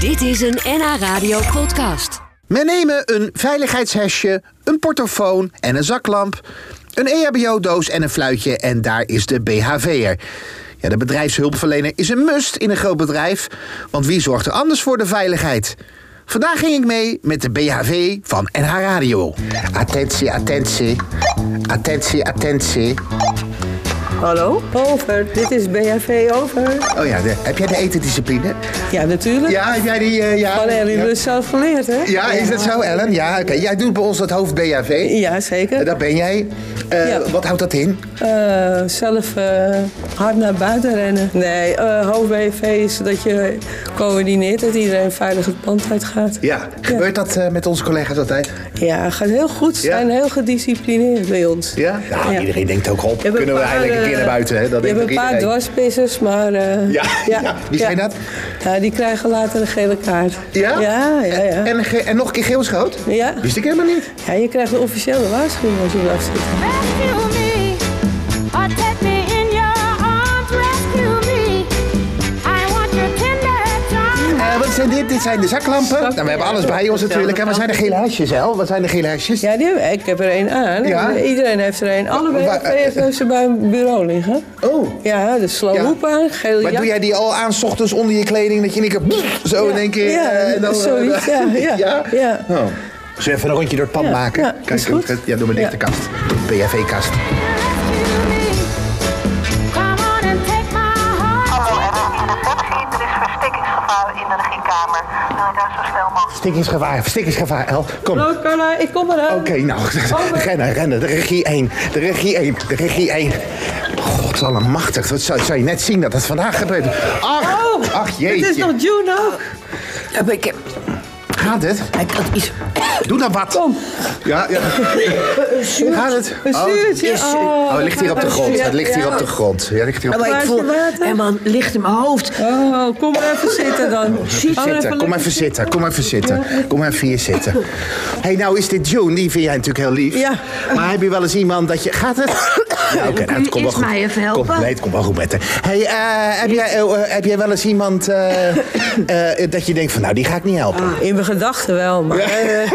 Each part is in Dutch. Dit is een NH Radio podcast. Men nemen een veiligheidshesje, een portofoon en een zaklamp, een E EHBO-doos en een fluitje en daar is de BHV'er. Ja, de bedrijfshulpverlener is een must in een groot bedrijf, want wie zorgt er anders voor de veiligheid? Vandaag ging ik mee met de BHV van NH Radio. Attentie, attentie. Attentie, attentie. Hallo? Over, dit is BHV Over. Oh ja, de- heb jij de etendiscipline? Ja, natuurlijk. Ja, heb jij die... eh, ja, Alleen hebben ja. jullie het zelf geleerd, hè? Ja, is dat zo, Ellen? Ja, oké. Jij doet bij ons dat hoofd BHV. Ja, zeker. Eh, Dat ben jij. Eh, Ja. Wat houdt dat in? Eh, zelf eh, hard naar buiten rennen. Nee, eh hoofd BHV is dat je coördineert dat iedereen veilig het pand uitgaat. Ja. Gebeurt dat eh, met onze collega's altijd? Ja, gaat heel goed. Ze Ja. zijn heel gedisciplineerd bij ons. Ja? Nou, Ja. iedereen denkt ook op. Je hebt Kunnen we een paar, eh, eigenlijk een keer naar buiten? Hè? Dat je denkt hebt een ook paar iedereen. dwarspissers, maar... eh, Ja, ja. Wie zijn dat? Ja, die krijgen later een gele kaart. Ja? Ja, ja, ja. En, ge- en nog een keer geel is groot? Ja. Wist ik helemaal niet. Ja, je krijgt een officiële waarschuwing als je eraf zit. Rescue me, or take me in your arms. Rescue me, I want your tender charm. Eh, wat zijn dit? Dit zijn de zaklampen. Nou, we hebben alles bij ons natuurlijk. En wat zijn de gele hesjes, El? Wat zijn de gele hesjes? Ja, die hebben, ik heb er één aan. Ja? Iedereen heeft er één. Allebei Wa- wa- hebben ze bij een bureau liggen. Oh. Ja, de slow Ja. hoep aan, gele Maar jak. doe jij die al aan, s ochtends onder je kleding, dat je in één keer pff, zo in één keer... Ja, eh, en dan, zoiets, ja, ja, ja? ja. Oh. Zullen we even een rondje door het pand Ja, maken? ja, is goed. eh, Ja, doe maar dicht Ja. de kast. E BHV-kast. Rescue me, come on and take my heart. Hallo Ellen, in het taxi. Er is verstekingsgevaar in de regiekamer. Wil je daar zo snel mogelijk... Stikkingsgevaar, stikkingsgevaar, El. Kom. Hallo Carla, ik kom eraan. Oké, nou, Over. rennen, rennen. De regie 1, de regie 1, de regie 1. Godallemachtig, dat zou, zou je net zien dat dat vandaag gebeurt. Ach, Oh, ach jeetje. Het is nog June ook. Gaat het? Doe dan wat. Kom. Ja, ja. Gaat het? Een zuurtje. yes. Oh, Oh, het ligt hier op de grond. Het ligt hier op de grond. Ja, het ligt hier op de Maar ik Glaasje voel water? en man licht in mijn hoofd. Oh, kom maar even zitten dan. Oh, Zitten. Kom lekker even zitten, kom even zitten. Kom even hier zitten. Hé, hey, nou is dit June, die vind jij natuurlijk heel lief. Ja. Maar heb je wel eens iemand dat je... Gaat het? Ja, oké, nou, het komt wel eerst goed. mij even helpen? Kom, nee, het komt wel goed met haar. Hey, eh, heb, jij, eh, eh, heb jij wel eens iemand eh, eh, dat je denkt van, nou, die ga ik niet helpen? In mijn gedachten wel, maar... eh,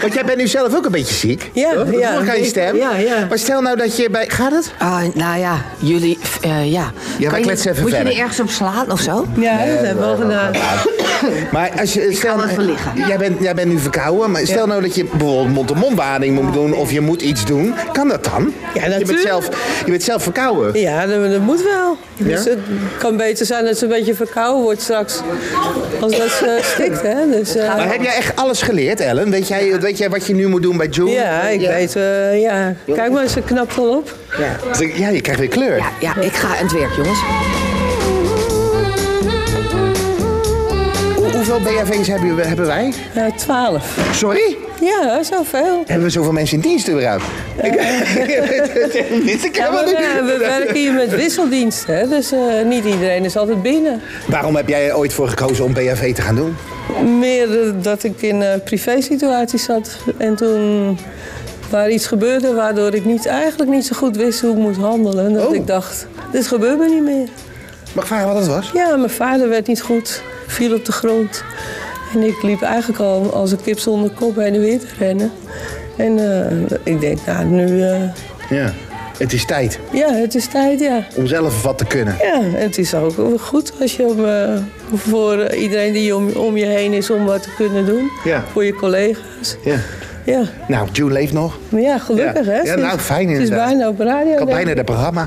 Want jij bent nu zelf ook een beetje ziek. Ja, toch? Dat ja, hoor ik aan je ik- stem. ja, ja. Maar stel nou dat je bij... Gaat het? Ah, nou ja, jullie, f- eh, ja. Kan wij je- kletsen even Moet verder. je er ergens op slaan of zo? Ja, dat hebben we al gedaan. Maar als je, stel, wel even liggen. Jij bent, jij bent nu verkouden, maar stel nou dat je bijvoorbeeld mond-to-mondbeademing moet doen of je moet iets doen. Kan dat dan? Je bent natuurlijk. zelf, je bent zelf verkouden. Ja, dat, dat moet wel. Dus Ja? het kan beter zijn dat ze een beetje verkouden wordt straks. Als dat ze stikt, hè. Dus, eh, Maar heb jij echt alles geleerd, Ellen? Weet jij, weet jij wat je nu moet doen bij June? ja, ik weet, eh, ja. Kijk maar, ze knapt al op. Dus Ja, je krijgt weer kleur. Ja, ja, ik ga aan het werk, jongens. Mm-hmm. Hoe- hoeveel BHV's hebben, we- hebben wij? Ja, Eh, twaalf. Sorry? Ja, zoveel. Hebben we zoveel mensen in dienst überhaupt? Ik, dit ik Eh. Ja, helemaal maar eh, niet. we, we werken hier met wisseldienst, hè. Dus eh, niet iedereen is altijd binnen. Waarom heb jij er ooit voor gekozen om BHV te gaan doen? Meer eh, dat ik in eh privé-situaties zat. En toen waar iets gebeurde waardoor ik niet, eigenlijk niet zo goed wist hoe ik moest handelen. Dat Oh. ik dacht, dit gebeurt me niet meer. Mag ik vragen wat het was? Ja, mijn vader werd niet goed, viel op de grond. En ik liep eigenlijk al als een kip zonder kop heen en weer te rennen. En eh, ik denk, nou nu, eh, Ja. Het is tijd ja, het is tijd, ja. om zelf wat te kunnen. Ja, en het is ook goed als je om, eh, voor eh, iedereen die om, om je heen is om wat te kunnen doen. Ja. Voor je collega's. Ja. Ja, Nou, June leeft nog. maar ja, gelukkig Ja. hè. Ja, Ze is- nou, fijn Ze is inderdaad. bijna op radio. Kan denk ik. bijna het programma.